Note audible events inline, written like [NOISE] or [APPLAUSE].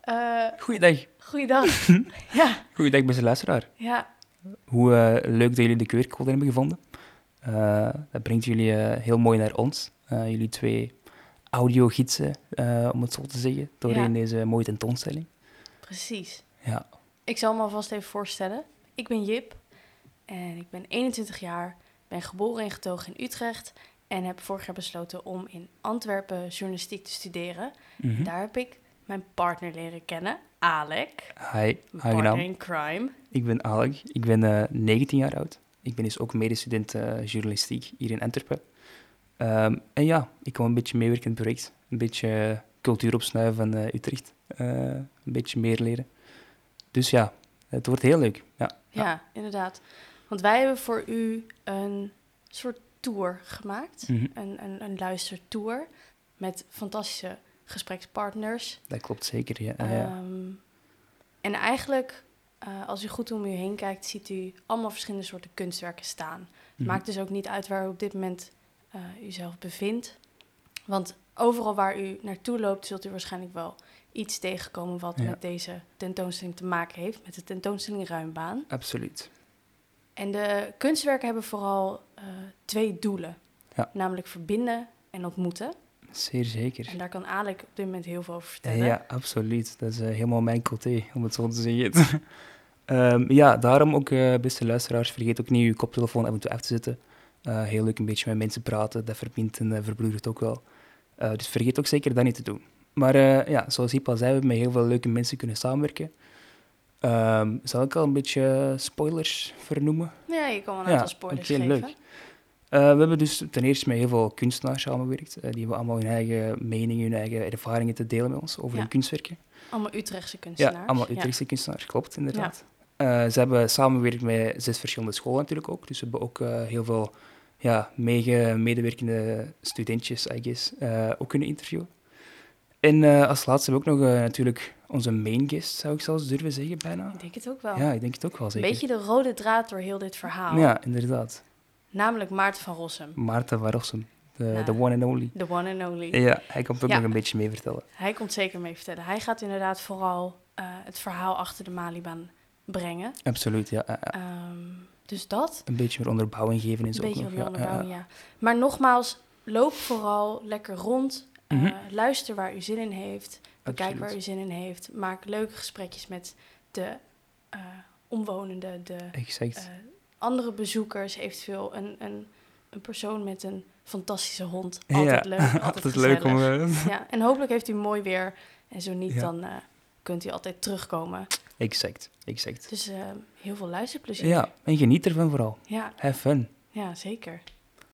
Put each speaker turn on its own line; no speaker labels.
Eh
Goeiedag.
goeiedag. ja,
Goeiedag, beste luisteraar.
ja,
Hoe eh, leuk dat jullie de kleurcode hebben gevonden. Eh, dat brengt jullie eh, heel mooi naar ons. Eh, jullie twee audiogidsen, eh om het zo te zeggen, doorheen deze mooie tentoonstelling.
precies.
Ja.
Ik zal me alvast even voorstellen. Ik ben Jip en ik ben 21 jaar, ben geboren en getogen in Utrecht en heb vorig jaar besloten om in Antwerpen journalistiek te studeren.
Mhm.
Daar heb ik mijn partner leren kennen, Alec,
Hi,
mijn partner
aangenaam.
in crime.
Ik ben Alec. Ik ben eh, 19 jaar oud. Ik ben dus ook medestudent eh, journalistiek hier in Antwerpen. Ehm, en ja, ik kom een beetje meewerken in het project. Een beetje eh, cultuur opsnuiven van eh, Utrecht. Eh, een beetje meer leren. Dus ja, het wordt heel leuk. Ja.
Ja, inderdaad. Want wij hebben voor u een soort tour gemaakt,
Mhm.
een, een, een luistertour met fantastische gesprekspartners.
Dat klopt zeker, ja. Ah, ja.
Ehm, en eigenlijk, eh, als u goed om u heen kijkt, ziet u allemaal verschillende soorten kunstwerken staan.
Mhm.
Maakt dus ook niet uit waar u op dit moment eh uzelf bevindt. Want overal waar u naartoe loopt, zult u waarschijnlijk wel iets tegenkomen wat
Ja.
met deze tentoonstelling te maken heeft, met de tentoonstelling Ruimbaan.
Mhm. Absoluut.
En de kunstwerken hebben vooral eh, twee doelen.
Ja.
Namelijk verbinden en ontmoeten.
Zeer zeker.
En daar kan Alec op dit moment heel veel over vertellen.
Ja, absoluut. Dat is eh, helemaal mijn côté, om het zo te zeggen. [LAUGHS] Ehm, ja, daarom ook, eh, beste luisteraars, vergeet ook niet uw koptelefoon af en toe af te zetten. Eh, heel leuk een beetje met mensen praten, dat verbindt en eh, verbroedert ook wel. Eh, dus vergeet ook zeker dat niet te doen. Maar eh, ja, zoals Hip al zei, we hebben met heel veel leuke mensen kunnen samenwerken. Ehm, zal ik al een beetje eh, spoilers vernoemen?
Ja, je kan wel een
Ja,
aantal spoilers
oké,
geven.
leuk. Eh, we hebben dus ten eerste met heel veel kunstenaars samengewerkt. eh, die hebben allemaal hun eigen meningen, hun eigen ervaringen te delen met ons over
Ja.
hun kunstwerken.
Allemaal Utrechtse kunstenaars.
Ja, allemaal Utrechtse kunstenaars, klopt inderdaad. Eh, ze hebben samengewerkt met zes verschillende scholen natuurlijk ook. Dus ze hebben ook eh, heel veel ja, mege- medewerkende studentjes, I guess, eh, ook kunnen interviewen. En eh, als laatste hebben we ook nog eh, natuurlijk onze main guest, zou ik zelfs durven zeggen bijna.
Ik denk het ook wel.
Ja, ik denk het ook wel
een
zeker.
beetje de rode draad door heel dit verhaal.
Ja, inderdaad.
Namelijk Maarten van Rossum.
Maarten van Rossum, de
Nou.
de one and only.
The one and only.
Ja, hij komt ook
Ja.
nog een beetje mee vertellen.
Hij komt zeker mee vertellen. Hij gaat inderdaad vooral eh, het verhaal achter de Maliban brengen.
Absoluut, ja. ja, ja.
Ehm, dus dat.
Een beetje meer onderbouwing geven en
Een
zo.
beetje
ook
op
nog,
de
ja, ja, ja.
onderbouwing, ja. Maar nogmaals, loop vooral lekker rond. Eh,
Mhm.
Luister waar u zin in heeft. Bekijk
Absoluut.
waar u zin in heeft. Maak leuke gesprekjes met de eh, omwonenden, de
Exact.
eh, andere bezoekers. Eventueel een, een, een persoon met een fantastische hond. eh, Altijd
[LAUGHS] Ja,
leuk, altijd,
altijd leuk om...
gezellig.
eh, [LAUGHS]
Ja, en hopelijk heeft u mooi weer. En zo niet,
Ja.
dan eh, kunt u altijd terugkomen.
Exact, exact.
Dus eh, heel veel luisterplezier.
Ja, en geniet ervan vooral.
ja,
Have fun.
ja, zeker.